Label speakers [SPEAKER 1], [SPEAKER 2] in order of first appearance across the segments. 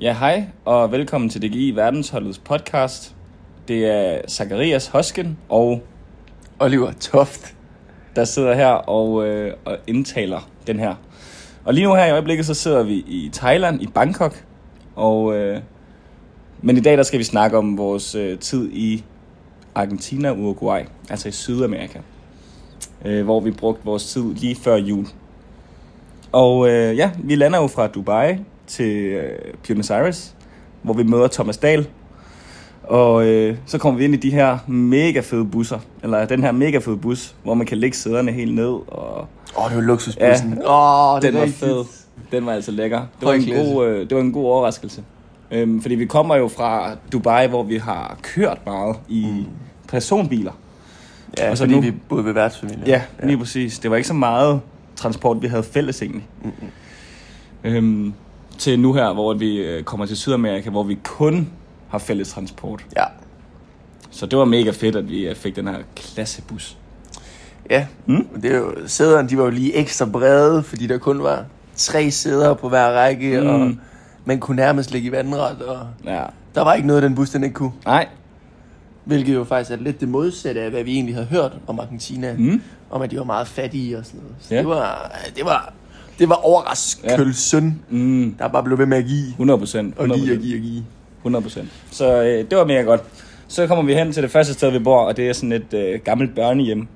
[SPEAKER 1] Ja, hej, og velkommen til DGI Verdensholdets podcast. Det er Zacharias Hosken, og
[SPEAKER 2] Oliver Toft.
[SPEAKER 1] der sidder her og, øh, og indtaler den her. Og lige nu her i øjeblikket, så sidder vi i Thailand, i Bangkok. Og, øh, men i dag, der skal vi snakke om vores øh, tid i Argentina og Uruguay, altså i Sydamerika. Øh, hvor vi brugte vores tid lige før jul. Og øh, ja, vi lander jo fra Dubai til øh, Buenos Aires, hvor vi møder Thomas Dahl. Og øh, så kommer vi ind i de her mega fede busser, eller den her mega fede bus, hvor man kan lægge sæderne helt ned. Og
[SPEAKER 2] Åh, oh, det var luksusbussen.
[SPEAKER 1] Ja.
[SPEAKER 2] Åh, ja. oh, det
[SPEAKER 1] den
[SPEAKER 2] er
[SPEAKER 1] var
[SPEAKER 2] rigtigt.
[SPEAKER 1] fed. Den var altså lækker. Det var,
[SPEAKER 2] Høj
[SPEAKER 1] en
[SPEAKER 2] klasse.
[SPEAKER 1] god, øh, det var en god overraskelse. Øhm, fordi vi kommer jo fra Dubai, hvor vi har kørt meget i mm. personbiler.
[SPEAKER 2] Ja,
[SPEAKER 1] Og
[SPEAKER 2] og
[SPEAKER 1] så
[SPEAKER 2] så fordi
[SPEAKER 1] nu-
[SPEAKER 2] vi boede ved værtsfamilien.
[SPEAKER 1] Ja, ja, lige præcis. Det var ikke så meget transport, vi havde fælles egentlig. Mm-hmm. Øhm, til nu her, hvor vi øh, kommer til Sydamerika, hvor vi kun har fælles transport.
[SPEAKER 2] Ja.
[SPEAKER 1] Så det var mega fedt, at vi øh, fik den her klassebus.
[SPEAKER 2] ja. Mm? Det er jo, sæderne, de var jo lige ekstra brede, fordi der kun var tre sæder på hver række, mm. og man kunne nærmest ligge i vandret, og
[SPEAKER 1] Ja.
[SPEAKER 2] der var ikke noget, den bus, den ikke kunne.
[SPEAKER 1] Nej,
[SPEAKER 2] Hvilket jo faktisk er lidt det modsatte af, hvad vi egentlig havde hørt om Argentina. Mm. Om, at de var meget fattige og sådan noget. Så
[SPEAKER 1] Ja.
[SPEAKER 2] ja. det var, det var, det var overraskelsen, ja. mm. der bare blev ved med at give.
[SPEAKER 1] 100 procent.
[SPEAKER 2] Og give og give og give.
[SPEAKER 1] 100%. Så øh, det var mega godt. Så kommer vi hen til det første sted, vi bor, og det er sådan et øh, gammelt børnehjem.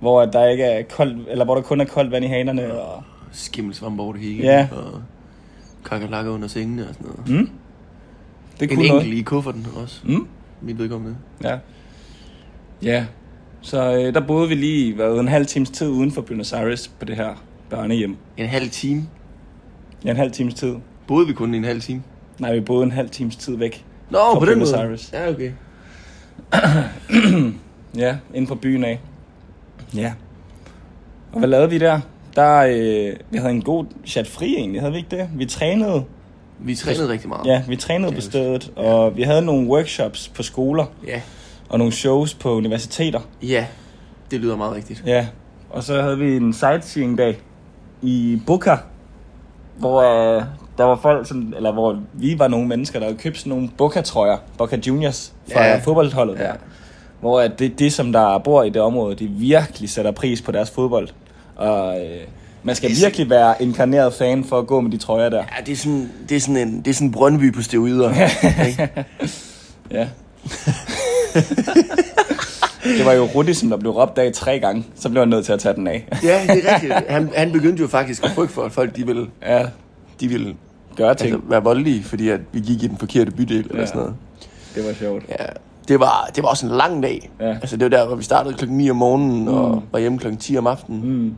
[SPEAKER 1] Hvor at der ikke er koldt, eller hvor der kun er koldt vand i hanerne. Og...
[SPEAKER 2] skimmelsvamp over det hele.
[SPEAKER 1] Ja.
[SPEAKER 2] Og kakalakker under sengene og sådan noget. Mm,
[SPEAKER 1] Det
[SPEAKER 2] en
[SPEAKER 1] kunne noget.
[SPEAKER 2] enkelt i kufferten også.
[SPEAKER 1] Mm?
[SPEAKER 2] Mit vedkommende.
[SPEAKER 1] Ja. Ja. Så øh, der boede vi lige hvad, en halv times tid uden for Buenos Aires på det her børnehjem.
[SPEAKER 2] En halv time.
[SPEAKER 1] Ja, en halv times tid.
[SPEAKER 2] Boede vi kun i en halv time?
[SPEAKER 1] Nej, vi boede en halv times tid væk.
[SPEAKER 2] Nå,
[SPEAKER 1] Fra
[SPEAKER 2] på den
[SPEAKER 1] Buenos
[SPEAKER 2] måde.
[SPEAKER 1] Aires.
[SPEAKER 2] Ja, okay.
[SPEAKER 1] Ja, inden for byen af. Ja. Og hvad lavede vi der? Der, øh, vi havde en god chat fri egentlig, havde vi ikke det? Vi trænede.
[SPEAKER 2] Vi trænede rigtig meget.
[SPEAKER 1] Ja, vi trænede på stedet, og vi havde nogle workshops på skoler,
[SPEAKER 2] Ja.
[SPEAKER 1] og nogle shows på universiteter.
[SPEAKER 2] Ja. Det lyder meget rigtigt.
[SPEAKER 1] Ja, og så havde vi en sightseeing-dag i Boca, hvor øh, der var folk, sådan, eller hvor vi var nogle mennesker, der havde købt sådan nogle Boca-trøjer, Boca Juniors, fra ja.
[SPEAKER 2] Ja.
[SPEAKER 1] fodboldholdet der.
[SPEAKER 2] Ja.
[SPEAKER 1] Hvor at det, det, som der bor i det område, de virkelig sætter pris på deres fodbold. Og øh, man skal
[SPEAKER 2] Det er
[SPEAKER 1] virkelig være inkarneret fan for at gå med de trøjer der.
[SPEAKER 2] Ja, det er sådan, det er sådan en det er sådan Brøndby på steroider. ikke?
[SPEAKER 1] Ja. det var jo Rudi, som der blev råbt af tre gange. Så blev han nødt til at tage den af.
[SPEAKER 2] ja, det er rigtigt. Han, han begyndte jo faktisk at frygte for, at folk de ville,
[SPEAKER 1] ja,
[SPEAKER 2] de ville
[SPEAKER 1] gøre ting.
[SPEAKER 2] altså, være voldelige, fordi at vi gik i den forkerte bydel eller
[SPEAKER 1] Ja.
[SPEAKER 2] sådan noget.
[SPEAKER 1] det var sjovt.
[SPEAKER 2] Ja, det var, det var også en lang dag.
[SPEAKER 1] Ja.
[SPEAKER 2] Ja. Altså det var der, hvor vi startede klokken 9 om morgenen mm. og var hjemme klokken 10 om aftenen. Mm.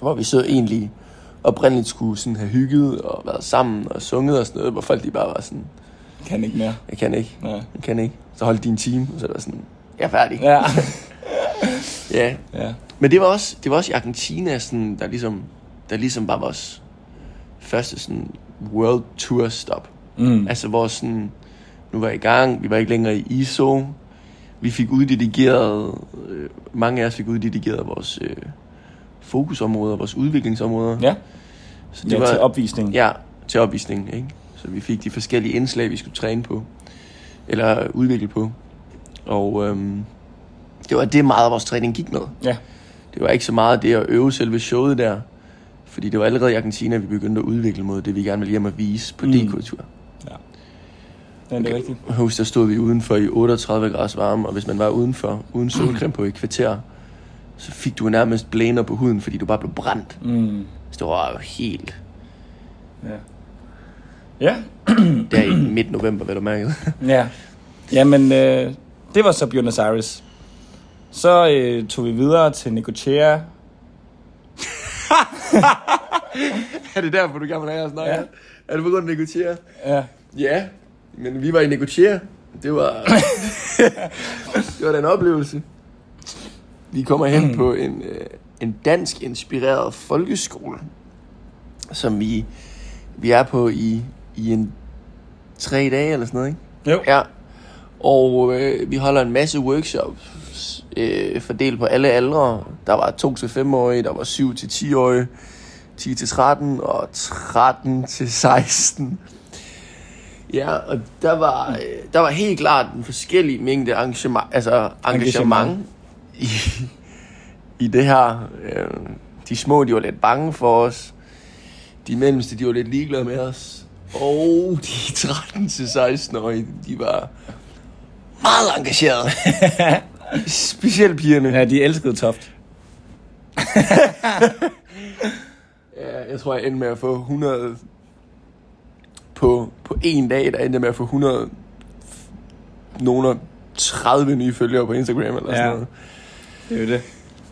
[SPEAKER 2] Hvor vi så egentlig oprindeligt skulle sådan have hygget og været sammen og sunget og sådan noget, hvor folk de bare var sådan,
[SPEAKER 1] Kan ikke mere.
[SPEAKER 2] jeg kan ikke,
[SPEAKER 1] Ja.
[SPEAKER 2] jeg kan ikke. Så holdt de en time, og så var det sådan, jeg er færdig.
[SPEAKER 1] Ja.
[SPEAKER 2] ja.
[SPEAKER 1] ja.
[SPEAKER 2] Men det var også, det var også i Argentina, sådan, der, ligesom, der ligesom bare vores første sådan, world tour stop. Mm. Altså hvor sådan, nu var jeg i gang, vi var ikke længere i ISO. Vi fik uddedigeret, øh, mange af os fik uddedigeret vores øh, fokusområder, vores udviklingsområder.
[SPEAKER 1] Ja,
[SPEAKER 2] så
[SPEAKER 1] det ja var... til opvisning. Ja.
[SPEAKER 2] Ja, til opvisningen, ikke? Så vi fik de forskellige indslag, vi skulle træne på, eller udvikle på. Og øhm, det var det meget, vores træning gik med.
[SPEAKER 1] ja.
[SPEAKER 2] Det var ikke så meget det at øve selve showet der, fordi det var allerede i Argentina, vi begyndte at udvikle mod det, vi gerne ville hjem og vise på mm. DK-tur.
[SPEAKER 1] Den er okay. rigtigt.
[SPEAKER 2] Hus, der stod vi udenfor i 38 grader varme, og hvis man var udenfor, uden solcreme på et kvarter, så fik du nærmest blæner på huden, fordi du bare blev brændt.
[SPEAKER 1] Mm.
[SPEAKER 2] Så det var jo helt
[SPEAKER 1] Ja. Ja.
[SPEAKER 2] der i midt november, hvad du mærkede.
[SPEAKER 1] Ja. Jamen, øh, det var så Buenos Aires. Så øh, tog vi videre til Necochea.
[SPEAKER 2] er det derfor, du gerne vil have at snakke?
[SPEAKER 1] Ja.
[SPEAKER 2] Er det på grund af Nicotia?
[SPEAKER 1] Ja.
[SPEAKER 2] Ja, men vi var i Nicotia. Det var... det var da en oplevelse. Vi kommer hen på en, øh, en dansk inspireret folkeskole, som vi, vi er på i, i en tre dage eller sådan noget, ikke?
[SPEAKER 1] Jo.
[SPEAKER 2] Ja. Og øh, vi holder en masse workshops øh, fordelt på alle aldre. Der var 2-5-årige, der var 7-10-årige, 10-13 og 13-16. Ja, og der var, øh, der var helt klart en forskellig mængde engagement, altså engagement i, i det her. Øh, de små, de var lidt bange for os. De mellemste, de var lidt ligeglade med os. Og de 13-16-årige, de var meget engagerede. Specielt pigerne.
[SPEAKER 1] Ja, de elskede Toft.
[SPEAKER 2] Ja, jeg tror, jeg endte med at få 100... På, på en dag, der endte jeg med at få 100... Nogle 30 nye følgere på Instagram eller sådan
[SPEAKER 1] Ja.
[SPEAKER 2] noget.
[SPEAKER 1] Det er jo det.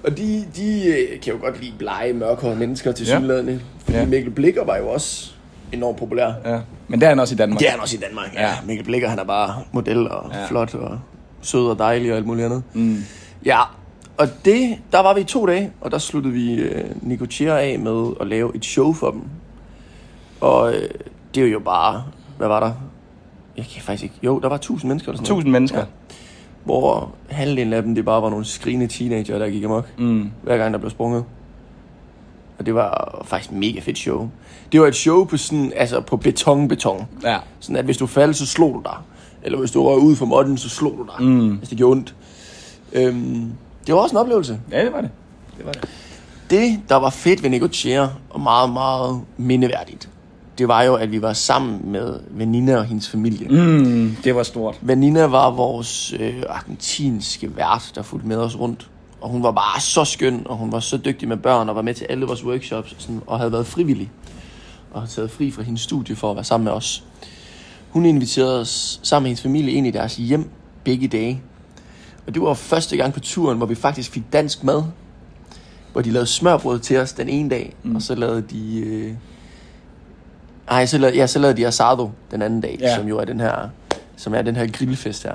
[SPEAKER 2] Og de, de øh, kan jo godt lide blege, mørkhårede mennesker til
[SPEAKER 1] Ja.
[SPEAKER 2] synlædende. Fordi
[SPEAKER 1] Ja.
[SPEAKER 2] Mikkel Blikker var jo også enormt populær.
[SPEAKER 1] Ja. Men der er han også i Danmark.
[SPEAKER 2] Det er han også i Danmark. Ja.
[SPEAKER 1] Ja.
[SPEAKER 2] Mikkel Blikker, han er bare model og
[SPEAKER 1] Ja.
[SPEAKER 2] ja. flot og sød og dejlig og alt muligt andet.
[SPEAKER 1] Mm.
[SPEAKER 2] Ja, og det, der var vi i to dage, og der sluttede vi øh, Nicotier af med at lave et show for dem. Og øh, det er jo bare, hvad var der? Jeg kan faktisk ikke. Jo, der var tusind mennesker eller sådan noget.
[SPEAKER 1] Tusind mennesker.
[SPEAKER 2] Ja. Hvor halvdelen af dem, det bare var nogle skrigende teenager, der gik amok.
[SPEAKER 1] Mm.
[SPEAKER 2] hver gang der blev sprunget. Og det var faktisk et mega fedt show. Det var et show på sådan, altså på beton-beton.
[SPEAKER 1] Ja.
[SPEAKER 2] Sådan at hvis du faldt, så slog du dig. Eller hvis du røg ud for modden, så slog du dig. Mm. Hvis det gjorde ondt. Øhm, det var også en oplevelse.
[SPEAKER 1] ja, det var det. Det var det.
[SPEAKER 2] Det, der var fedt ved Negotier, og meget, meget mindeværdigt, det var jo, at vi var sammen med Vanina og hendes familie. Mm.
[SPEAKER 1] Mm, det var stort.
[SPEAKER 2] Vanina var vores øh, argentinske vært, der fulgte med os rundt. Og hun var bare så skøn, og hun var så dygtig med børn, og var med til alle vores workshops, og, sådan, og havde været frivillig. Og havde taget fri fra hendes studie for at være sammen med os. Hun inviterede os sammen med hendes familie ind i deres hjem begge dage. Og det var første gang på turen, hvor vi faktisk fik dansk mad. Hvor de lavede smørbrød til os den ene dag, mm. og så lavede de... Øh... Ej, så lavede, ja, så lavede de asado den anden dag,
[SPEAKER 1] Ja.
[SPEAKER 2] ja. som jo er den her som er den her grillfest her.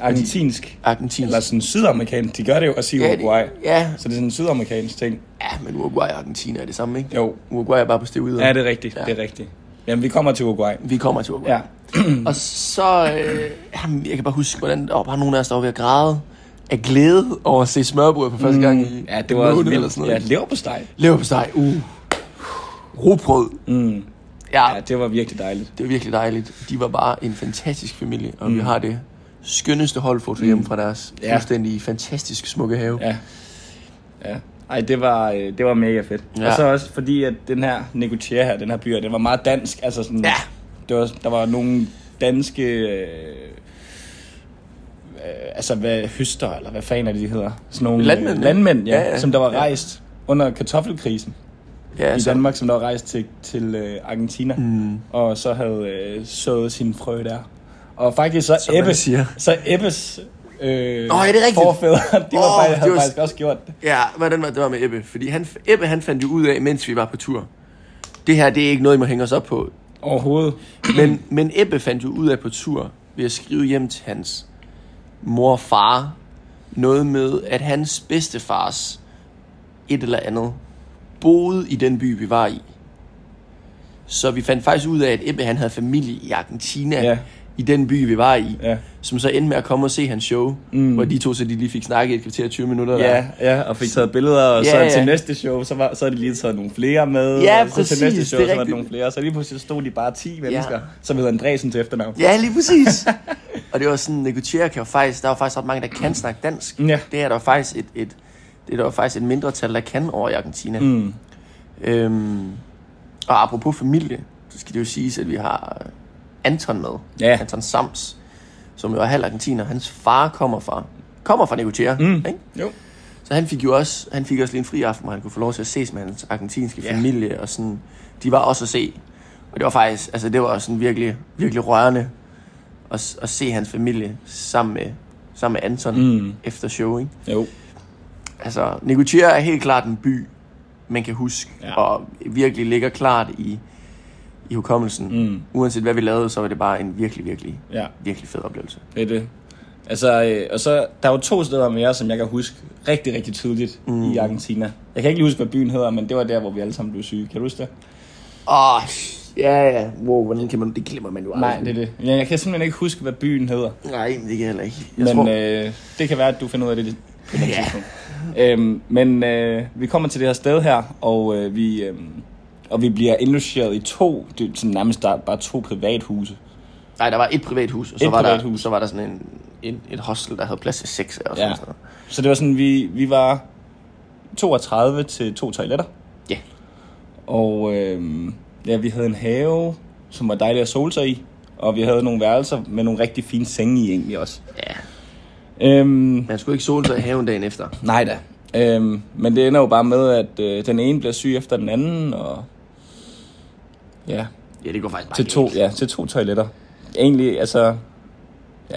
[SPEAKER 1] Argentinsk.
[SPEAKER 2] Argentinsk.
[SPEAKER 1] Eller sådan sydamerikansk. De gør det jo også i
[SPEAKER 2] ja,
[SPEAKER 1] Uruguay.
[SPEAKER 2] det, ja,
[SPEAKER 1] Så det er sådan en sydamerikansk ting.
[SPEAKER 2] ja, men Uruguay og Argentina er det samme, ikke?
[SPEAKER 1] Jo.
[SPEAKER 2] Uruguay er bare på stedet.
[SPEAKER 1] Ja, det er rigtigt. Ja. Det er rigtigt. Jamen, vi kommer til Uruguay. Mm.
[SPEAKER 2] Vi kommer til Uruguay.
[SPEAKER 1] Ja.
[SPEAKER 2] Og så, øh, jamen, jeg kan bare huske, hvordan der var bare nogen af os, der var ved at græde af glæde over at se smørbrød for første gang i
[SPEAKER 1] Mm. Ja, det
[SPEAKER 2] en
[SPEAKER 1] var også
[SPEAKER 2] måned
[SPEAKER 1] vildt.
[SPEAKER 2] eller sådan noget.
[SPEAKER 1] Ja, leverpostej.
[SPEAKER 2] Leverpostej, uh. Rugbrød.
[SPEAKER 1] Mm.
[SPEAKER 2] Ja,
[SPEAKER 1] Ja, det var virkelig dejligt.
[SPEAKER 2] det var virkelig dejligt. De var bare en fantastisk familie, og mm. vi har det skønneste holdfoto hjemme fra deres
[SPEAKER 1] Mm. Ja.
[SPEAKER 2] fuldstændig fantastisk smukke have.
[SPEAKER 1] Ja. Ja. Ej, det var, øh, det var mega fedt. Ja.
[SPEAKER 2] Ja.
[SPEAKER 1] Og så også fordi, at den her Negotier her, den her by, her, den var meget dansk. Altså sådan,
[SPEAKER 2] Ja.
[SPEAKER 1] det var, der var nogle danske... Øh, øh, altså, hvad høster, eller hvad fanden er det, de hedder? Sådan nogle
[SPEAKER 2] Landmænd,
[SPEAKER 1] øh,
[SPEAKER 2] ja.
[SPEAKER 1] landmænd ja,
[SPEAKER 2] Ja,
[SPEAKER 1] ja,
[SPEAKER 2] ja.
[SPEAKER 1] som der var
[SPEAKER 2] Ja.
[SPEAKER 1] rejst under kartoffelkrisen
[SPEAKER 2] ja
[SPEAKER 1] i
[SPEAKER 2] så-
[SPEAKER 1] Danmark, som der var rejst til, til øh, Argentina, Altså- mm. og så havde øh, sået sine frø der. Og faktisk så,
[SPEAKER 2] Som man
[SPEAKER 1] Ebbe,
[SPEAKER 2] siger.
[SPEAKER 1] så Ebbes øh,
[SPEAKER 2] Nå, er det rigtigt?
[SPEAKER 1] forfædre, de var
[SPEAKER 2] Åh,
[SPEAKER 1] faktisk, havde
[SPEAKER 2] det var-
[SPEAKER 1] faktisk også gjort det.
[SPEAKER 2] Ja, hvordan var det var med Ebbe? Fordi han, Ebbe han fandt jo ud af, mens vi var på tur. Det her, det er ikke noget, I må hænge os op på.
[SPEAKER 1] Overhovedet.
[SPEAKER 2] Men, men Ebbe fandt jo ud af på tur ved at skrive hjem til hans mor og far. Noget med, at hans bedstefars et eller andet boede i den by, vi var i. Så vi fandt faktisk ud af, at Ebbe han havde familie i Argentina,
[SPEAKER 1] Ja.
[SPEAKER 2] ja. i den by, vi var i.
[SPEAKER 1] Ja.
[SPEAKER 2] Som så endte med at komme og se hans show, mm. hvor de to så de lige fik snakket et kvarter og 20 minutter. der.
[SPEAKER 1] Ja, ja, og fik taget billeder, og
[SPEAKER 2] Ja,
[SPEAKER 1] så
[SPEAKER 2] ja.
[SPEAKER 1] til næste show, så, var, så havde de lige taget nogle flere med.
[SPEAKER 2] Ja,
[SPEAKER 1] og så
[SPEAKER 2] præcis,
[SPEAKER 1] til næste show,
[SPEAKER 2] det er
[SPEAKER 1] så var der
[SPEAKER 2] rigtigt.
[SPEAKER 1] nogle flere. Så lige pludselig stod de bare 10 mennesker, som hedder Andresen til efternavn.
[SPEAKER 2] Ja, lige præcis. og det var sådan, Negotier kan jo faktisk, der er jo faktisk ret mange, der kan snakke dansk.
[SPEAKER 1] Ja.
[SPEAKER 2] Det er der jo faktisk et, et, det er der jo faktisk et mindretal, der kan over i Argentina. Mm. Øhm, og apropos familie, så skal det jo siges, at vi har øh, Anton med.
[SPEAKER 1] Ja.
[SPEAKER 2] Anton Sams, som jo er halv argentiner. Hans far kommer fra, kommer fra Negotier. Mm. Ikke?
[SPEAKER 1] Jo.
[SPEAKER 2] Så han fik jo også, han fik også lige en fri aften, hvor han kunne få lov til at ses med hans argentinske
[SPEAKER 1] Ja.
[SPEAKER 2] yeah. familie, og sådan, de var også at se. Og det var faktisk, altså det var sådan virkelig, virkelig rørende at, s- at se hans familie sammen med, sammen med Anton mm. efter show, ikke?
[SPEAKER 1] Jo.
[SPEAKER 2] Altså, Nicotier er helt klart en by, man kan huske,
[SPEAKER 1] Ja.
[SPEAKER 2] ja. og virkelig ligger klart i, i hukommelsen. Mm. Uanset hvad vi lavede, så var det bare en virkelig, virkelig,
[SPEAKER 1] Ja.
[SPEAKER 2] virkelig fed oplevelse.
[SPEAKER 1] Det er det. Altså, øh, og så, der er jo to steder mere, som jeg kan huske rigtig, rigtig tydeligt mm. i Argentina. Jeg kan ikke lige huske, hvad byen hedder, men det var der, hvor vi alle sammen blev syge. Kan du huske det?
[SPEAKER 2] Åh, oh, ja, ja. Wow, hvordan kan man, det glemmer man jo aldrig.
[SPEAKER 1] Nej, det er det. Ja, jeg kan simpelthen ikke huske, hvad byen hedder.
[SPEAKER 2] Nej, men det kan jeg heller ikke. Jeg
[SPEAKER 1] Jeg men
[SPEAKER 2] tror,
[SPEAKER 1] øh, det kan være, at du finder ud af det lidt på et yeah. tidspunkt. Øhm, men øh, vi kommer til det her sted her, og, øhm, øh, vi, øh, og vi bliver indlogeret i to, det er sådan nærmest der, er bare to privathuse,
[SPEAKER 2] Nej, der var et privat hus, og så,
[SPEAKER 1] Et
[SPEAKER 2] var, der,
[SPEAKER 1] privat hus.
[SPEAKER 2] så var der sådan en, en, et hostel, der havde plads til seks af os.
[SPEAKER 1] Ja.
[SPEAKER 2] Ja. Sådan noget.
[SPEAKER 1] Så det var sådan, vi, vi var 32 til to toiletter.
[SPEAKER 2] ja.
[SPEAKER 1] Og øh, ja, vi havde en have, som var dejlig at sole sig i. Og vi havde nogle værelser med nogle rigtig fine senge i egentlig også.
[SPEAKER 2] Ja.
[SPEAKER 1] Øhm,
[SPEAKER 2] Man skulle ikke sole sig i haven dagen efter.
[SPEAKER 1] Nej da. Øhm, men det ender jo bare med, at øh, den ene bliver syg efter den anden, og ja,
[SPEAKER 2] Ja, det går faktisk bare
[SPEAKER 1] til to,
[SPEAKER 2] galt.
[SPEAKER 1] ja, til to toiletter. Egentlig, altså, ja,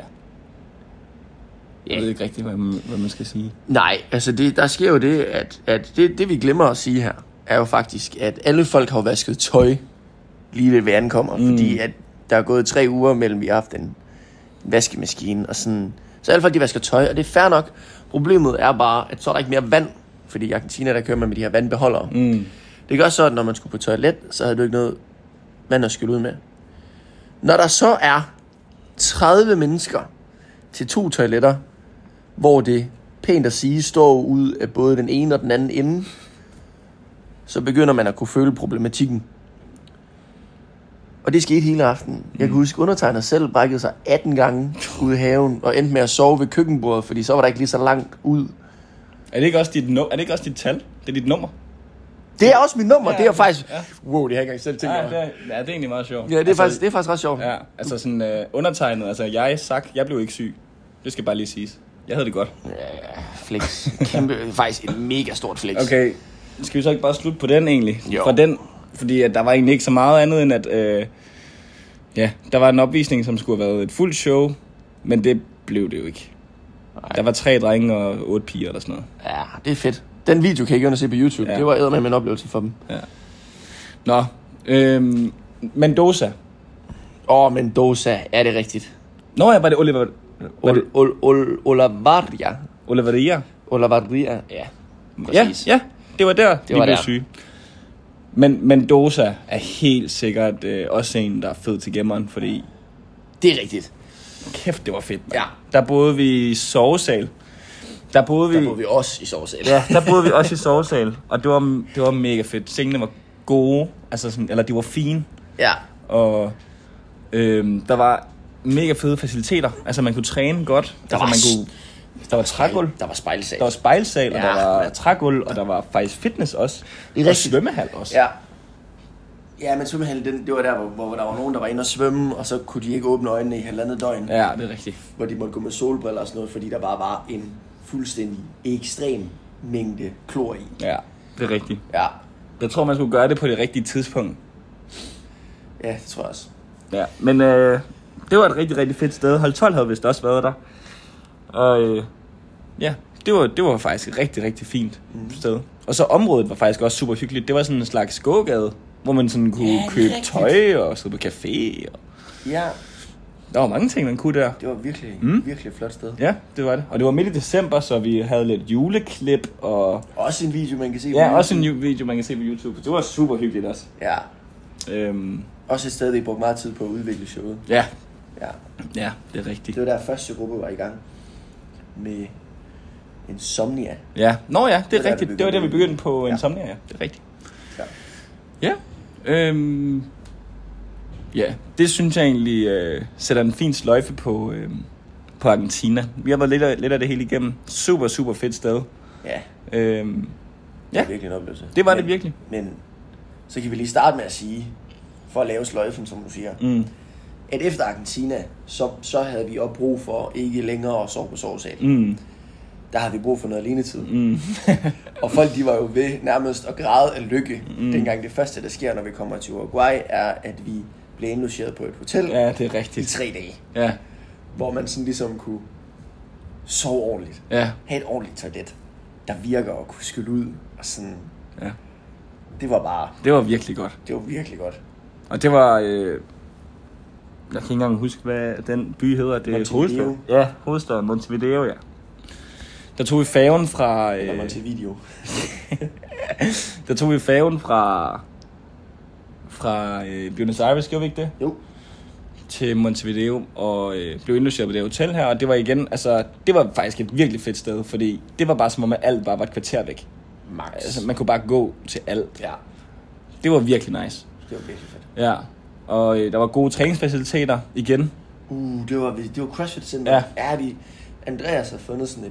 [SPEAKER 1] jeg ved
[SPEAKER 2] Ja.
[SPEAKER 1] ikke rigtigt, hvad, man- hvad man skal sige.
[SPEAKER 2] Nej, altså det, der sker jo det, at, at det, det vi glemmer at sige her, er jo faktisk, at alle folk har jo vasket tøj, lige ved verden kommer. Mm. Fordi at der er gået tre uger mellem, vi har haft en vaskemaskine og sådan. Så alle folk, de vasker tøj, og det er fair nok. Problemet er bare, at så er der ikke mere vand. Fordi i Argentina, der kører man med de her vandbeholdere. Mm. Det gør så, at når man skulle på toilet, så havde du ikke noget vand at skylle ud med. Når der så er 30 mennesker til to toiletter, hvor det pænt at sige står ud af både den ene og den anden ende, så begynder man at kunne føle problematikken. Og det skete hele aftenen. Jeg
[SPEAKER 1] Mm.
[SPEAKER 2] kan huske, undertegnet selv brækkede sig 18 gange ude i haven, og endte med at sove ved køkkenbordet, fordi så var der ikke lige så langt ud.
[SPEAKER 1] Er det ikke også dit, nu- er det ikke også dit tal? Det er dit nummer?
[SPEAKER 2] Det er også mit nummer,
[SPEAKER 1] Ja,
[SPEAKER 2] ja, det er faktisk...
[SPEAKER 1] ja.
[SPEAKER 2] Ja. Wow, det har jeg ikke engang selv tænkt
[SPEAKER 1] Ja,
[SPEAKER 2] over.
[SPEAKER 1] det er, ja, det er egentlig meget sjovt.
[SPEAKER 2] Ja, det er,
[SPEAKER 1] altså,
[SPEAKER 2] faktisk, det er faktisk ret sjovt.
[SPEAKER 1] Ja, altså sådan øh, undertegnet, altså jeg, sagt, jeg blev ikke syg. Det skal bare lige siges. Jeg havde det godt.
[SPEAKER 2] Ja, flex. Kæmpe, faktisk et mega stort flex.
[SPEAKER 1] Okay, skal vi så ikke bare slutte på den egentlig?
[SPEAKER 2] Jo.
[SPEAKER 1] Fra den, fordi at der var egentlig ikke så meget andet end at... Øh, ja, der var en opvisning, som skulle have været et fuldt show, men det blev det jo ikke. Nej. Der var tre drenge og otte piger eller sådan noget.
[SPEAKER 2] Ja, det er fedt. Den video kan I gå ind og se på YouTube.
[SPEAKER 1] Ja.
[SPEAKER 2] Ja. Det var eddermame en oplevelse for dem.
[SPEAKER 1] Nå, øhm, Mendoza.
[SPEAKER 2] Åh, oh, Mendoza, er det rigtigt?
[SPEAKER 1] Nå ja, var det Oliver... Var det
[SPEAKER 2] Ol, ol, ol, Olavarria.
[SPEAKER 1] Oliveria?
[SPEAKER 2] Olavarria, ja.
[SPEAKER 1] Ja,
[SPEAKER 2] Præcis.
[SPEAKER 1] ja, det var der, det vi
[SPEAKER 2] var
[SPEAKER 1] blev
[SPEAKER 2] der.
[SPEAKER 1] syge. Men Mendoza er helt sikkert øh, også en, der er fed til gemmeren, fordi
[SPEAKER 2] Det er rigtigt.
[SPEAKER 1] Kæft, det var fedt. mand.
[SPEAKER 2] Ja.
[SPEAKER 1] Der boede vi i sovesal. Der boede vi,
[SPEAKER 2] Der boede vi også i sovesæt.
[SPEAKER 1] Ja, der boede vi også i sovesal. Og det var, det var mega fedt. Sengene var gode, altså sådan, eller de var fine.
[SPEAKER 2] ja.
[SPEAKER 1] Og øhm, der var mega fede faciliteter. Altså man kunne træne godt. Der altså,
[SPEAKER 2] var s-
[SPEAKER 1] man kunne, der var trægulv.
[SPEAKER 2] Der var spejlsag.
[SPEAKER 1] Der var spejlsal, og
[SPEAKER 2] Ja.
[SPEAKER 1] der var trægulv, og der var faktisk fitness også.
[SPEAKER 2] Det er
[SPEAKER 1] og
[SPEAKER 2] rigtigt.
[SPEAKER 1] svømmehal også.
[SPEAKER 2] Ja. Ja, men svømmehallen, den, det var der, hvor, hvor, der var nogen, der var inde og svømme, og så kunne de ikke åbne øjnene i halvandet døgn, ja.
[SPEAKER 1] ja, det er rigtigt.
[SPEAKER 2] hvor de måtte gå med solbriller og sådan noget, fordi der bare var en fuldstændig ekstrem mængde klor i.
[SPEAKER 1] Ja, det er rigtigt.
[SPEAKER 2] Ja.
[SPEAKER 1] Jeg tror, man skulle gøre det på det rigtige tidspunkt.
[SPEAKER 2] Ja, det tror jeg også.
[SPEAKER 1] Ja, men øh, det var et rigtig, rigtig fedt sted. Hold 12 havde vist også været der. Og øh, ja, det var, det var faktisk et rigtig, rigtig fint mm. sted. Og så området var faktisk også super hyggeligt. Det var sådan en slags gågade, hvor man sådan kunne
[SPEAKER 2] Ja,
[SPEAKER 1] ja,
[SPEAKER 2] det er
[SPEAKER 1] købe
[SPEAKER 2] rigtigt.
[SPEAKER 1] tøj og sidde på café. Og...
[SPEAKER 2] Ja,
[SPEAKER 1] Der var mange ting, man kunne der.
[SPEAKER 2] det var virkelig, mm. virkelig et flot sted.
[SPEAKER 1] Ja, det var det. Og det var midt i december, så vi havde lidt juleklip og...
[SPEAKER 2] Også en video, man kan se. på
[SPEAKER 1] Ja,
[SPEAKER 2] YouTube.
[SPEAKER 1] også en ju- video, man kan se på YouTube. Det var super hyggeligt også.
[SPEAKER 2] Ja.
[SPEAKER 1] Øhm,
[SPEAKER 2] Også et sted, vi brugte meget tid på at udvikle showet.
[SPEAKER 1] ja.
[SPEAKER 2] Ja.
[SPEAKER 1] Ja, det er rigtigt.
[SPEAKER 2] Det var der første gruppe var i gang med Insomnia.
[SPEAKER 1] Ja, nå ja, det er
[SPEAKER 2] Det var der,
[SPEAKER 1] rigtigt.
[SPEAKER 2] vi
[SPEAKER 1] Det var der, vi
[SPEAKER 2] begyndte.
[SPEAKER 1] begyndte på
[SPEAKER 2] Ja.
[SPEAKER 1] Insomnia, ja. Det er rigtigt.
[SPEAKER 2] Ja.
[SPEAKER 1] Ja. Øhm, ja, det synes jeg egentlig øh, sætter en fin sløjfe på, øh, på Argentina. Vi har været lidt af, lidt af det hele igennem. Super, super fedt sted.
[SPEAKER 2] ja.
[SPEAKER 1] Øhm,
[SPEAKER 2] Det
[SPEAKER 1] ja,
[SPEAKER 2] var virkelig en oplevelse.
[SPEAKER 1] Det var
[SPEAKER 2] men,
[SPEAKER 1] det virkelig.
[SPEAKER 2] Men så kan vi lige starte med at sige, for at lave sløjfen, som du siger,
[SPEAKER 1] mm,
[SPEAKER 2] at efter Argentina, så, så havde vi også brug for ikke længere at sove på sovesalen.
[SPEAKER 1] mm,
[SPEAKER 2] Der havde vi brug for noget alenetid.
[SPEAKER 1] mm.
[SPEAKER 2] Og folk de var jo ved nærmest at græde af lykke, mm. dengang det første, der sker, når vi kommer til Uruguay, er, at vi blev indlogeret på et hotel
[SPEAKER 1] ja, det er
[SPEAKER 2] i
[SPEAKER 1] rigtigt.
[SPEAKER 2] tre dage,
[SPEAKER 1] Ja,
[SPEAKER 2] hvor man sådan ligesom kunne sove ordentligt.
[SPEAKER 1] ja,
[SPEAKER 2] Have et ordentligt toilet, der virker og kunne skylle ud. Og sådan,
[SPEAKER 1] ja.
[SPEAKER 2] det var bare,
[SPEAKER 1] Det var virkelig godt.
[SPEAKER 2] det var virkelig godt.
[SPEAKER 1] Og det var... Øh, jeg kan ikke engang huske, hvad den by hedder. Det er
[SPEAKER 2] Montevideo.
[SPEAKER 1] hovedstaden. Ja, hovedstaden. Montevideo, ja. Der tog vi færgen fra...
[SPEAKER 2] Når
[SPEAKER 1] Øh,
[SPEAKER 2] man til video.
[SPEAKER 1] Der tog vi færgen fra, fra øh, Buenos Aires, gjorde vi ikke det?
[SPEAKER 2] Jo,
[SPEAKER 1] Til Montevideo og øh, blev indlogeret på det hotel her. Og det var igen, altså, det var faktisk et virkelig fedt sted, fordi det var bare som om, at alt bare var et kvarter væk.
[SPEAKER 2] max.
[SPEAKER 1] Altså, man kunne bare gå til alt.
[SPEAKER 2] Ja,
[SPEAKER 1] Det var virkelig nice.
[SPEAKER 2] det var virkelig fedt.
[SPEAKER 1] Ja. Og øh, der var gode træningsfaciliteter igen.
[SPEAKER 2] Uh, det var, det var CrossFit Center.
[SPEAKER 1] Ja.
[SPEAKER 2] Er de, Andreas har fundet sådan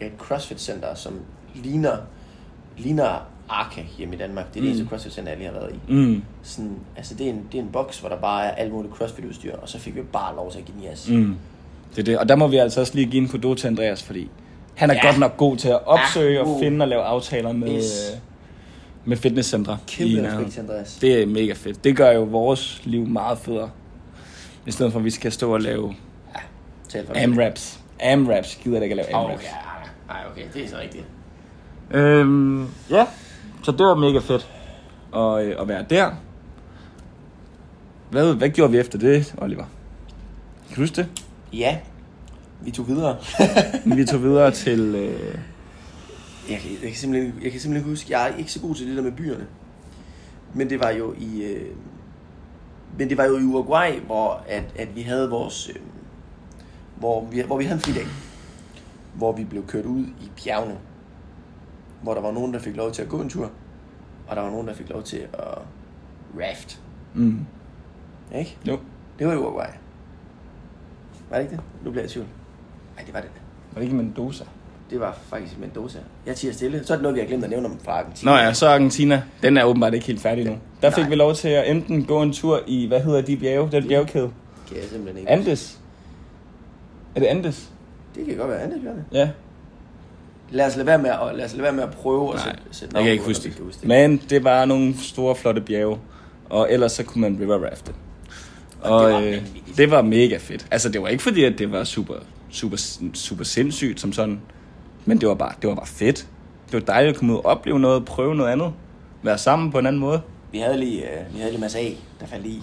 [SPEAKER 2] et, et CrossFit Center, som ligner, ligner Arca hjemme i Danmark. Det er det eneste CrossFit Center, jeg lige har været i.
[SPEAKER 1] Mm.
[SPEAKER 2] Sådan, altså det er, en, det er en boks, hvor der bare er alt muligt CrossFit udstyr, og så fik vi bare lov til at give den gas. Mm.
[SPEAKER 1] Det er det. Og der må vi altså også lige give en kudo til Andreas, fordi han er ja.
[SPEAKER 2] Ja.
[SPEAKER 1] godt nok god til at opsøge
[SPEAKER 2] Ja,
[SPEAKER 1] og
[SPEAKER 2] god.
[SPEAKER 1] finde og lave aftaler med,
[SPEAKER 2] Yes.
[SPEAKER 1] yes. med fitnesscentre. i
[SPEAKER 2] Kæmpe
[SPEAKER 1] nærheden.
[SPEAKER 2] respekt til Andreas. Det.
[SPEAKER 1] Det er mega fedt. Det gør jo vores liv meget federe. I stedet for, at vi skal stå og lave
[SPEAKER 2] Tal for det.
[SPEAKER 1] AMRAPs. AMRAPs. Gider jeg ikke at lave
[SPEAKER 2] Åh,
[SPEAKER 1] AMRAPs.
[SPEAKER 2] ja. Ej, okay, det er så rigtigt.
[SPEAKER 1] Øhm, ja, så det var mega fedt at, øh, at være der. Hvad, hvad gjorde vi efter det, Oliver? Kan du huske det?
[SPEAKER 2] Ja, vi tog videre.
[SPEAKER 1] Vi tog videre til... Øh,
[SPEAKER 2] Jeg kan, jeg, kan simpelthen, ikke- jeg kan simpelthen ikke huske, jeg er ikke så god til det der med byerne. Men det var jo i, øh, men det var jo i Uruguay, hvor at, at vi havde vores, øh, hvor, vi, hvor vi havde en fridag, hvor vi blev kørt ud i bjergene, hvor der var nogen, der fik lov til at gå en tur, og der var nogen, der fik lov til at raft.
[SPEAKER 1] mm,
[SPEAKER 2] Ikke?
[SPEAKER 1] jo,
[SPEAKER 2] Det var i Uruguay. Var det ikke det? Nu bliver jeg i tvivl. Nej, det var det.
[SPEAKER 1] var det ikke Mendoza?
[SPEAKER 2] Det var faktisk i Mendoza. Jeg tiger stille. Så er det noget, vi har glemt at nævne om fra Argentina.
[SPEAKER 1] Nå ja, så Argentina. Den er åbenbart ikke helt færdig nu. Der fik
[SPEAKER 2] Nej.
[SPEAKER 1] vi lov til at enten gå en tur i, hvad hedder de bjerge? Den bjergkæde.
[SPEAKER 2] Kan jeg simpelthen ikke.
[SPEAKER 1] Andes. Er det Andes?
[SPEAKER 2] Det kan godt være andet, Bjørne.
[SPEAKER 1] Ja.
[SPEAKER 2] Lad os lade være med at, lad os lade være med at prøve at
[SPEAKER 1] Nej,
[SPEAKER 2] sætte, sætte
[SPEAKER 1] jeg
[SPEAKER 2] navn
[SPEAKER 1] kan
[SPEAKER 2] på,
[SPEAKER 1] ikke
[SPEAKER 2] når
[SPEAKER 1] huske
[SPEAKER 2] vi kan
[SPEAKER 1] det. Men det var nogle store, flotte bjerge. Og ellers så kunne man river rafte.
[SPEAKER 2] Og det
[SPEAKER 1] Og
[SPEAKER 2] var
[SPEAKER 1] øh,
[SPEAKER 2] vanvittigt.
[SPEAKER 1] det var mega fedt. Altså det var ikke fordi, at det var super, super, super sindssygt som sådan. Men det var, bare, det var bare fedt. Det var dejligt at komme ud og opleve noget, prøve noget andet. Være sammen på en anden måde.
[SPEAKER 2] Vi havde lige, øh, vi havde lige masse A, der faldt i.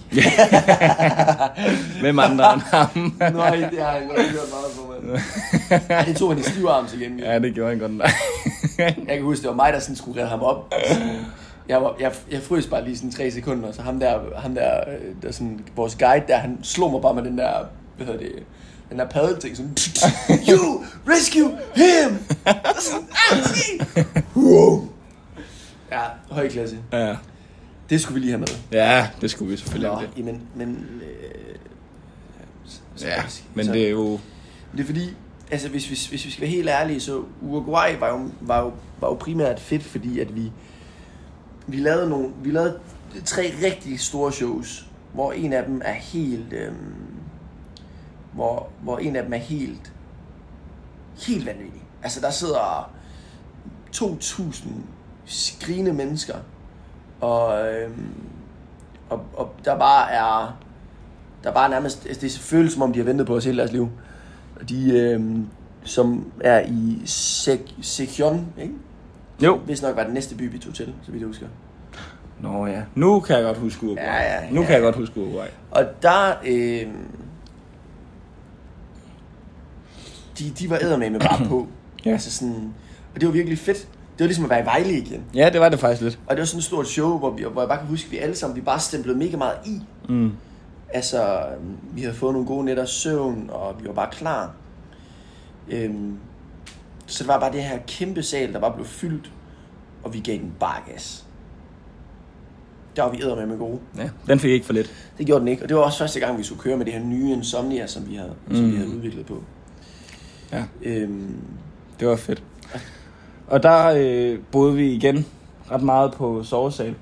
[SPEAKER 1] Hvem andre end ham?
[SPEAKER 2] Nej, det har jeg ikke gjort meget for mig. Ej, det tog han i stive arms igen. Ja.
[SPEAKER 1] ja, det gjorde han godt nok.
[SPEAKER 2] Jeg kan huske, det var mig, der sådan skulle redde ham op. Jeg, var, jeg, jeg frøs bare lige sådan tre sekunder, så ham der, ham der, øh, der sådan, vores guide der, han slog mig bare med den der, hvad hedder det, den der paddelting, sådan, you rescue him! Og sådan, "Ah, okay." Ja, høj klasse.
[SPEAKER 1] ja.
[SPEAKER 2] Det skulle vi lige have med.
[SPEAKER 1] ja, det skulle vi selvfølgelig.
[SPEAKER 2] Nå,
[SPEAKER 1] have det.
[SPEAKER 2] jamen, men... Øh, så-
[SPEAKER 1] Ja,
[SPEAKER 2] så-
[SPEAKER 1] men
[SPEAKER 2] så-
[SPEAKER 1] det er jo...
[SPEAKER 2] Det er fordi, altså hvis, hvis, hvis vi skal være helt ærlige, så Uruguay var jo, var jo, var jo primært fedt, fordi at vi, vi, lavede nogle, vi lavede tre rigtig store shows, hvor en af dem er helt... Øhm, hvor, hvor en af dem er helt... Helt vanvittig. Altså der sidder 2.000 skrigende mennesker, og, øhm, og, og der bare er... Der bare nærmest, altså, det føles som om, de har ventet på os hele deres liv. Og De, øh, som er i Sek- Sekion, ikke?
[SPEAKER 1] Jo.
[SPEAKER 2] Hvis nok var den næste by, vi tog til, så vidt jeg husker.
[SPEAKER 1] Nå ja. Nu kan jeg godt huske Uruguay.
[SPEAKER 2] Ja, ja,
[SPEAKER 1] nu
[SPEAKER 2] ja.
[SPEAKER 1] kan jeg godt huske Uruguay.
[SPEAKER 2] Og der, øh, de, de var eddermame bare på.
[SPEAKER 1] Ja.
[SPEAKER 2] Altså sådan, og det var virkelig fedt. Det var ligesom at være i Vejle igen.
[SPEAKER 1] Ja, det var det faktisk lidt.
[SPEAKER 2] Og det var sådan et stort show, hvor, vi, hvor jeg bare kan huske, at vi alle sammen, vi bare stemplede mega meget i.
[SPEAKER 1] Mm.
[SPEAKER 2] Altså, øhm, vi havde fået nogle gode nætter søvn, og vi var bare klar. Øhm, så det var bare det her kæmpe sal, der bare blev fyldt, og vi gav den bare gas. Der var vi æder med med gode.
[SPEAKER 1] Ja, den fik ikke for lidt.
[SPEAKER 2] Det gjorde den ikke, og det var også første gang, vi skulle køre med det her nye Insomnia, som vi havde, mm. som vi havde udviklet på.
[SPEAKER 1] Ja.
[SPEAKER 2] Øhm,
[SPEAKER 1] Det var fedt. Og der øh, boede vi igen ret meget på sovesal.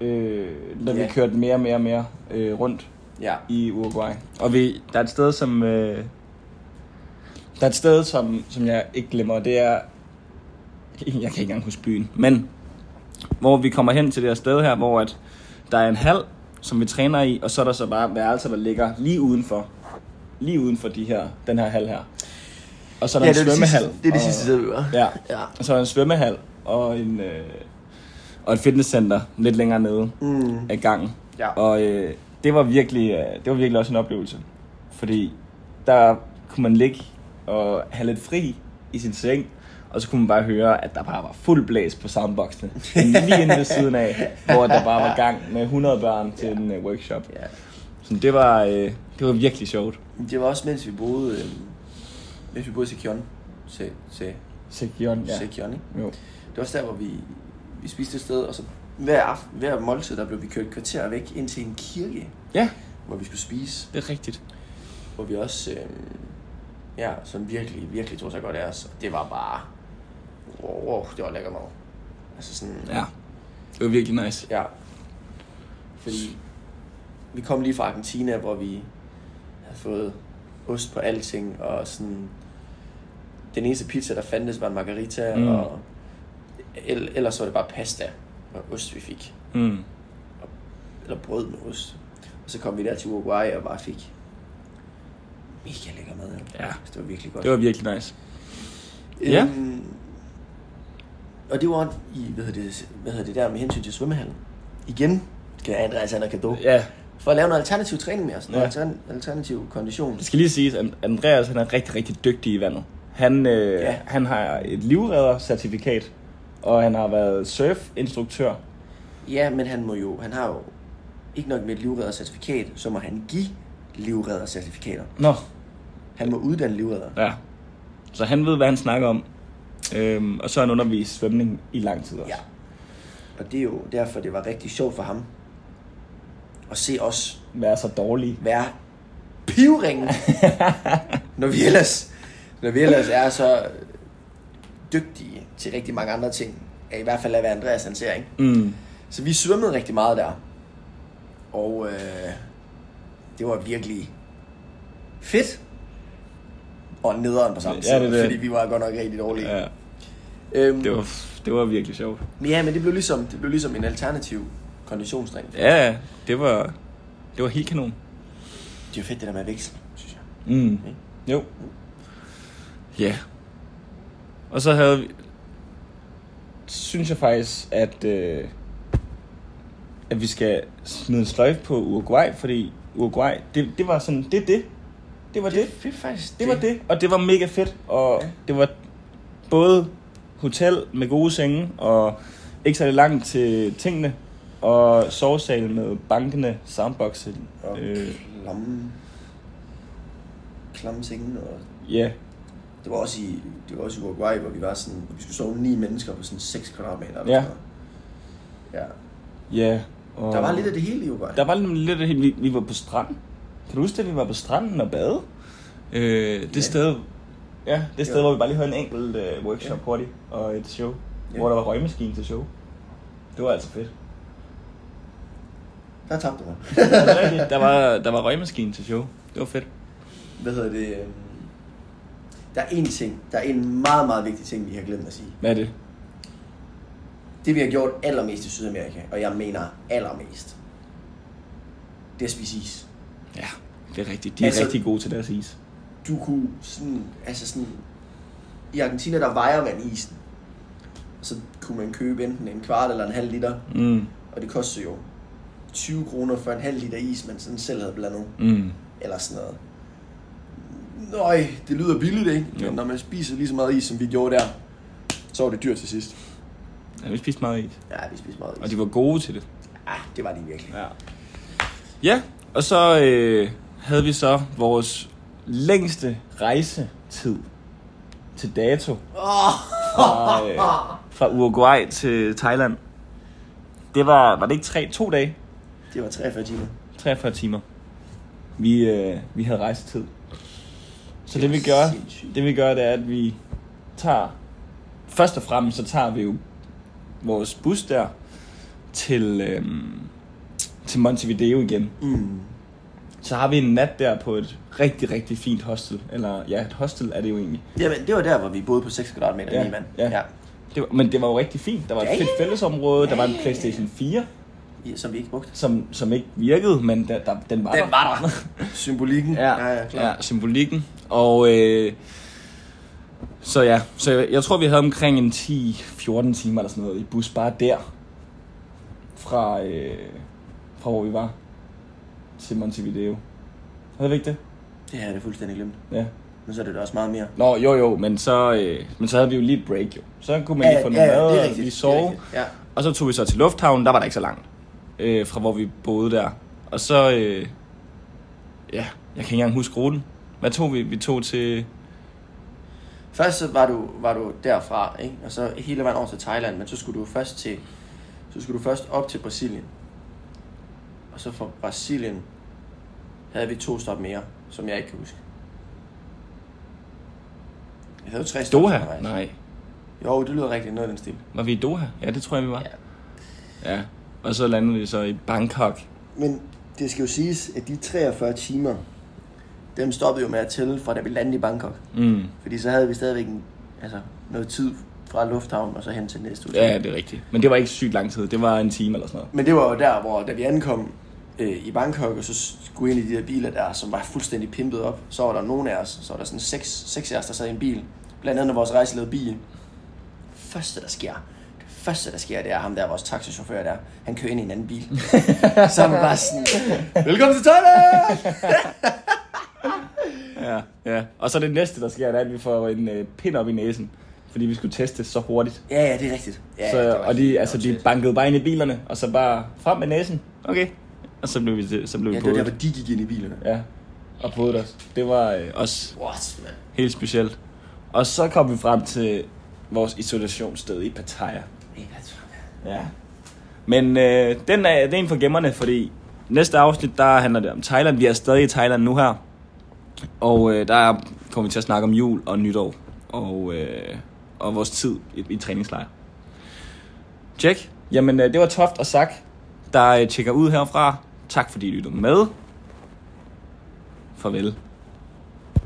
[SPEAKER 1] Øh, da
[SPEAKER 2] Ja.
[SPEAKER 1] vi kørte mere og mere og mere øh, rundt
[SPEAKER 2] ja.
[SPEAKER 1] i Uruguay. Og vi, der er et sted, som... Øh, der er et sted, som, som jeg ikke glemmer, og det er... Jeg kan ikke engang huske byen, men... Hvor vi kommer hen til det her sted her, hvor at der er en hal, som vi træner i, og så er der så bare værelser, der ligger lige udenfor. Lige uden for de her, den her hal her. Og så er der
[SPEAKER 2] ja,
[SPEAKER 1] en
[SPEAKER 2] det, var det,
[SPEAKER 1] svømmehal.
[SPEAKER 2] sidste, det er det
[SPEAKER 1] og-
[SPEAKER 2] sidste sted, vi var.
[SPEAKER 1] Ja.
[SPEAKER 2] ja.
[SPEAKER 1] Og så er der en svømmehal og, en, øh, og et fitnesscenter lidt længere nede
[SPEAKER 2] Mm.
[SPEAKER 1] af gangen.
[SPEAKER 2] Ja.
[SPEAKER 1] Og øh, det, var virkelig, øh, det var virkelig også en oplevelse. Fordi der kunne man ligge og have lidt fri i sin seng, og så kunne man bare høre, at der bare var fuld blæs på soundboxene. Lige inde ved siden af, hvor der bare var gang med 100 børn til en øh, workshop.
[SPEAKER 2] ja.
[SPEAKER 1] Så det var, øh, det var virkelig sjovt.
[SPEAKER 2] Det var også, mens vi boede, øhm, mens vi boede i Sekion. Se, se,
[SPEAKER 1] Sekion, ja.
[SPEAKER 2] Sekion, ikke?
[SPEAKER 1] Jo.
[SPEAKER 2] Det var også der, hvor vi, vi spiste et sted, og så hver, aften, hver måltid, der blev vi kørt et kvarter væk ind til en kirke,
[SPEAKER 1] Ja,
[SPEAKER 2] hvor vi skulle spise.
[SPEAKER 1] det er rigtigt.
[SPEAKER 2] Hvor vi også, øh, ja, som virkelig, virkelig tog sig godt af os. Og det var bare, wow, wow det var lækker mad. Altså sådan,
[SPEAKER 1] Ja, det var virkelig nice.
[SPEAKER 2] Ja. Fordi vi kom lige fra Argentina, hvor vi havde fået ost på alting, og sådan... Den eneste pizza, der fandtes, var en margarita,
[SPEAKER 1] Mm.
[SPEAKER 2] mm. og el- ellers var det bare pasta og ost, vi fik.
[SPEAKER 1] Mm.
[SPEAKER 2] Eller brød med ost. Og så kom vi der til Uruguay og bare fik mega lækker mad.
[SPEAKER 1] Ja.
[SPEAKER 2] Så det var virkelig godt.
[SPEAKER 1] Det var virkelig nice. ja.
[SPEAKER 2] Øhm, og det var i, hvad hedder det, hvad hedder det der med hensyn til svømmehallen. Igen kan Andreas Anna Kado
[SPEAKER 1] Ja,
[SPEAKER 2] for at lave noget alternativ træning med os, noget
[SPEAKER 1] Ja.
[SPEAKER 2] ja. altern- alternativ kondition.
[SPEAKER 1] Det skal lige siges, at Andreas han er rigtig, rigtig dygtig i vandet. Han, øh, ja.
[SPEAKER 2] Ja.
[SPEAKER 1] han har et livreddercertifikat, og han har været surfinstruktør.
[SPEAKER 2] Ja, men han må jo, han har jo ikke nok med et livreddercertifikat, så må han give livreddercertifikater.
[SPEAKER 1] Nå,
[SPEAKER 2] Han må uddanne livredder.
[SPEAKER 1] ja. Så han ved, hvad han snakker om. Øhm, og så har han undervist svømning i lang tid også.
[SPEAKER 2] Ja. Og det er jo derfor, det var rigtig sjovt for ham at se os
[SPEAKER 1] Være så dårlig.
[SPEAKER 2] være pivringen, når vi ellers, når vi ellers er så dygtige til rigtig mange andre ting. Ja, I hvert fald er, hvad Andreas han ser, ikke?
[SPEAKER 1] Mm.
[SPEAKER 2] Så vi svømmede rigtig meget der. Og øh, det var virkelig fedt. Og nederen på samme
[SPEAKER 1] Ja,
[SPEAKER 2] tid,
[SPEAKER 1] det er det.
[SPEAKER 2] fordi vi var godt nok rigtig dårlige.
[SPEAKER 1] Ja,
[SPEAKER 2] øhm,
[SPEAKER 1] det var, det var virkelig sjovt.
[SPEAKER 2] Men ja, men det blev ligesom, det blev ligesom en alternativ konditionstræning.
[SPEAKER 1] Ja, ja, det var, det var helt kanon.
[SPEAKER 2] Det er jo fedt det der med at veksle, synes jeg.
[SPEAKER 1] Mm.
[SPEAKER 2] Ikke?
[SPEAKER 1] Jo. Ja. Og så havde vi... Synes jeg faktisk, at... Øh, at vi skal smide en sløjfe på Uruguay, fordi Uruguay, det, det var sådan, det er det. Det var det.
[SPEAKER 2] Det er faktisk
[SPEAKER 1] Det var det, og det var mega fedt, og ja. det var både hotel med gode senge, og ikke særlig langt til tingene, og sovesal med bankende soundboxe.
[SPEAKER 2] Og
[SPEAKER 1] Øh,
[SPEAKER 2] klamme, klamme senge, og
[SPEAKER 1] ja,
[SPEAKER 2] det var også i, det var også i Uruguay, hvor vi var sådan, hvor vi skulle sove ni mennesker på sådan 6 kvadratmeter. eller
[SPEAKER 1] Ja.
[SPEAKER 2] sådan noget. Ja.
[SPEAKER 1] ja. og-
[SPEAKER 2] Der var lidt af det hele i Uruguay.
[SPEAKER 1] Der var nemlig lidt af det, vi, vi var på stranden. Kan du huske det, vi var på stranden og bade? Øh, det
[SPEAKER 2] Ja.
[SPEAKER 1] sted, ja, det sted,
[SPEAKER 2] Jo.
[SPEAKER 1] hvor vi bare lige havde en enkelt øh, workshop
[SPEAKER 2] Ja.
[SPEAKER 1] hurtigt og et show,
[SPEAKER 2] Ja.
[SPEAKER 1] hvor der var røgmaskine til show. Det var altså fedt.
[SPEAKER 2] Der tabte mig.
[SPEAKER 1] Er det rigtigt? der var, der var røgmaskine til show. Det var fedt.
[SPEAKER 2] Hvad hedder det? øhm, Der er en ting, der er en meget, meget vigtig ting, vi har glemt at sige.
[SPEAKER 1] Hvad er det?
[SPEAKER 2] Det vi har gjort allermest i Sydamerika, og jeg mener allermest, det er at spise is.
[SPEAKER 1] Ja, det er rigtigt. De er altså,
[SPEAKER 2] Altså-
[SPEAKER 1] rigtig gode til deres is.
[SPEAKER 2] Du kunne sådan, altså sådan, i Argentina der vejer man isen. Og så kunne man købe enten en kvart eller en halv liter,
[SPEAKER 1] Mm,
[SPEAKER 2] og det kostede jo 20 kroner for en halv liter is, man sådan selv havde blandet.
[SPEAKER 1] mm.
[SPEAKER 2] eller sådan noget. Nøj, det lyder billigt, ikke?
[SPEAKER 1] Jo.
[SPEAKER 2] Men når man spiser lige så meget is, som vi gjorde der, så var det dyrt til sidst.
[SPEAKER 1] Ja, vi spiste meget is.
[SPEAKER 2] Ja, vi spiste meget is.
[SPEAKER 1] Og de var gode til det.
[SPEAKER 2] Ja, Ah, det var de virkelig.
[SPEAKER 1] Ja. Ja, og så øh, havde vi så vores længste rejsetid til dato
[SPEAKER 2] Åh,
[SPEAKER 1] fra, øh, fra Uruguay til Thailand. Det var, var det ikke tre, to dage?
[SPEAKER 2] det var 43 timer.
[SPEAKER 1] 43 timer. Vi, øh, vi havde rejsetid. Så det,
[SPEAKER 2] Det
[SPEAKER 1] det vi
[SPEAKER 2] var
[SPEAKER 1] gør,
[SPEAKER 2] sindssygt.
[SPEAKER 1] det vi gør, det er, at vi tager... Først og fremmest, så tager vi jo vores bus der til, øh, til Montevideo igen.
[SPEAKER 2] Mm.
[SPEAKER 1] Så har vi en nat der på et rigtig, rigtig fint hostel. Eller ja, et hostel er det jo egentlig.
[SPEAKER 2] Jamen, det var der, hvor vi boede på 6 kvadratmeter,
[SPEAKER 1] Ja,
[SPEAKER 2] ja. mand.
[SPEAKER 1] ja. Det var, men det var jo rigtig fint. Der var et
[SPEAKER 2] Ja,
[SPEAKER 1] fedt
[SPEAKER 2] ja.
[SPEAKER 1] fællesområde. Der var en
[SPEAKER 2] Ja, ja, ja.
[SPEAKER 1] Playstation 4,
[SPEAKER 2] ja. Som vi ikke brugte.
[SPEAKER 1] som, som ikke virkede, men der, der, den var der.
[SPEAKER 2] Den var der. Symbolikken.
[SPEAKER 1] Ah, Ja,
[SPEAKER 2] ja, ja, klar.
[SPEAKER 1] ja symbolikken. Og øh, så ja, så jeg, jeg tror, vi havde omkring en 10-14 timer eller sådan noget i bus bare der. Fra, øh, fra hvor vi var til Montevideo. Havde vi ikke det?
[SPEAKER 2] Det her er det fuldstændig glemt.
[SPEAKER 1] Ja.
[SPEAKER 2] Men så er det da også meget mere.
[SPEAKER 1] Nå, jo jo, men så, øh, men så havde vi jo lige et break jo. Så kunne man lige få noget mad og lige
[SPEAKER 2] det er
[SPEAKER 1] sove.
[SPEAKER 2] rigtigt. Ja.
[SPEAKER 1] Og så tog vi så til lufthavnen, der var der ikke så langt, øh, fra hvor vi boede der. Og så, øh, ja, jeg kan ikke engang huske ruten. Hvad tog vi? Vi tog til,
[SPEAKER 2] Først så var du, var du derfra, ikke? og så hele vejen over til Thailand, men så skulle du først til så skulle du først op til Brasilien. Og så fra Brasilien havde vi to stop mere, som jeg ikke kan huske. Jeg havde jo tre stop
[SPEAKER 1] Doha? Nej.
[SPEAKER 2] Jo, det lyder rigtigt, noget i den stil.
[SPEAKER 1] Var vi i Doha? Ja, det tror jeg, vi var. Ja. ja. Og så landede vi så i Bangkok.
[SPEAKER 2] Men det skal jo siges, at de 43 timer, dem stoppede jo med at tælle fra da vi landede i Bangkok.
[SPEAKER 1] Mm.
[SPEAKER 2] Fordi så havde vi stadigvæk en, altså, noget tid fra lufthavnen og så hen til næste hotel.
[SPEAKER 1] Ja, det er rigtigt. Men det var ikke sygt lang tid. Det var en time eller sådan noget.
[SPEAKER 2] Men det var jo der, hvor da vi ankom øh, i Bangkok, og så skulle ind i de der biler der, som var fuldstændig pimpet op, så var der nogen af os, så var der sådan seks, seks af os, der sad i en bil. Blandt andet vores rejseleder bil. Første, der sker, det første, der sker, det er ham der, vores taxichauffør der, han kører ind i en anden bil. så er man bare sådan, velkommen til Thailand!
[SPEAKER 1] Ja, ja. Og så det næste, der sker, det er, at vi får en øh, pind op i næsen. Fordi vi skulle testes så hurtigt.
[SPEAKER 2] Ja, ja, det er rigtigt. Ja,
[SPEAKER 1] så,
[SPEAKER 2] ja, det var
[SPEAKER 1] og de,
[SPEAKER 2] helt
[SPEAKER 1] altså, de
[SPEAKER 2] åndssvagt.
[SPEAKER 1] bankede bare ind i bilerne, og så bare frem med næsen. Okay. Og så blev vi, så blev
[SPEAKER 2] Ja,
[SPEAKER 1] vi
[SPEAKER 2] det var der,
[SPEAKER 1] podet.
[SPEAKER 2] hvor de gik ind i bilerne.
[SPEAKER 1] Ja, og podet os. Det var øh, også
[SPEAKER 2] What, man?
[SPEAKER 1] helt specielt. Og så kom vi frem til vores isolationssted i Pattaya. Ja. Men øh, den er, det er en for gemmerne, fordi næste afsnit, der handler det om Thailand. Vi er stadig i Thailand nu her. Og øh, der kommer vi til at snakke om jul og nytår. Og, øh, og vores tid i, i træningslejr. Tjek. Jamen, øh, det var Toft og Sak, der øh, tjekker ud herfra. Tak fordi I lyttede med. Farvel.